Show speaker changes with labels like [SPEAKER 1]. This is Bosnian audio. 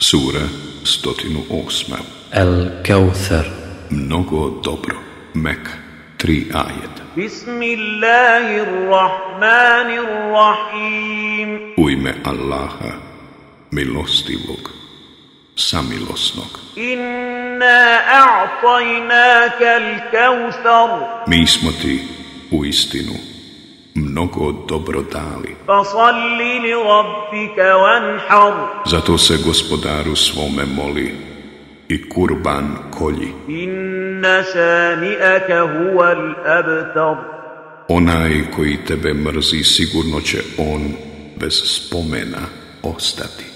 [SPEAKER 1] Sura 108.
[SPEAKER 2] الكوثر
[SPEAKER 1] Mnogo dobro. Mek. Tri ajeta.
[SPEAKER 3] بسم الله الرحمن الرحيم
[SPEAKER 1] U ime Allaha, milostivog, samilosnog.
[SPEAKER 3] إنا أعطيناك الكوثر
[SPEAKER 1] Mi smo ti, u istinu, mnogo dobro dali.
[SPEAKER 3] فصل لربك وانحر
[SPEAKER 1] Zato se gospodaru svome moli i kurban kolji.
[SPEAKER 3] إن شانئك هو الأبتر
[SPEAKER 1] Onaj koji tebe mrzi sigurno će on bez spomena ostati.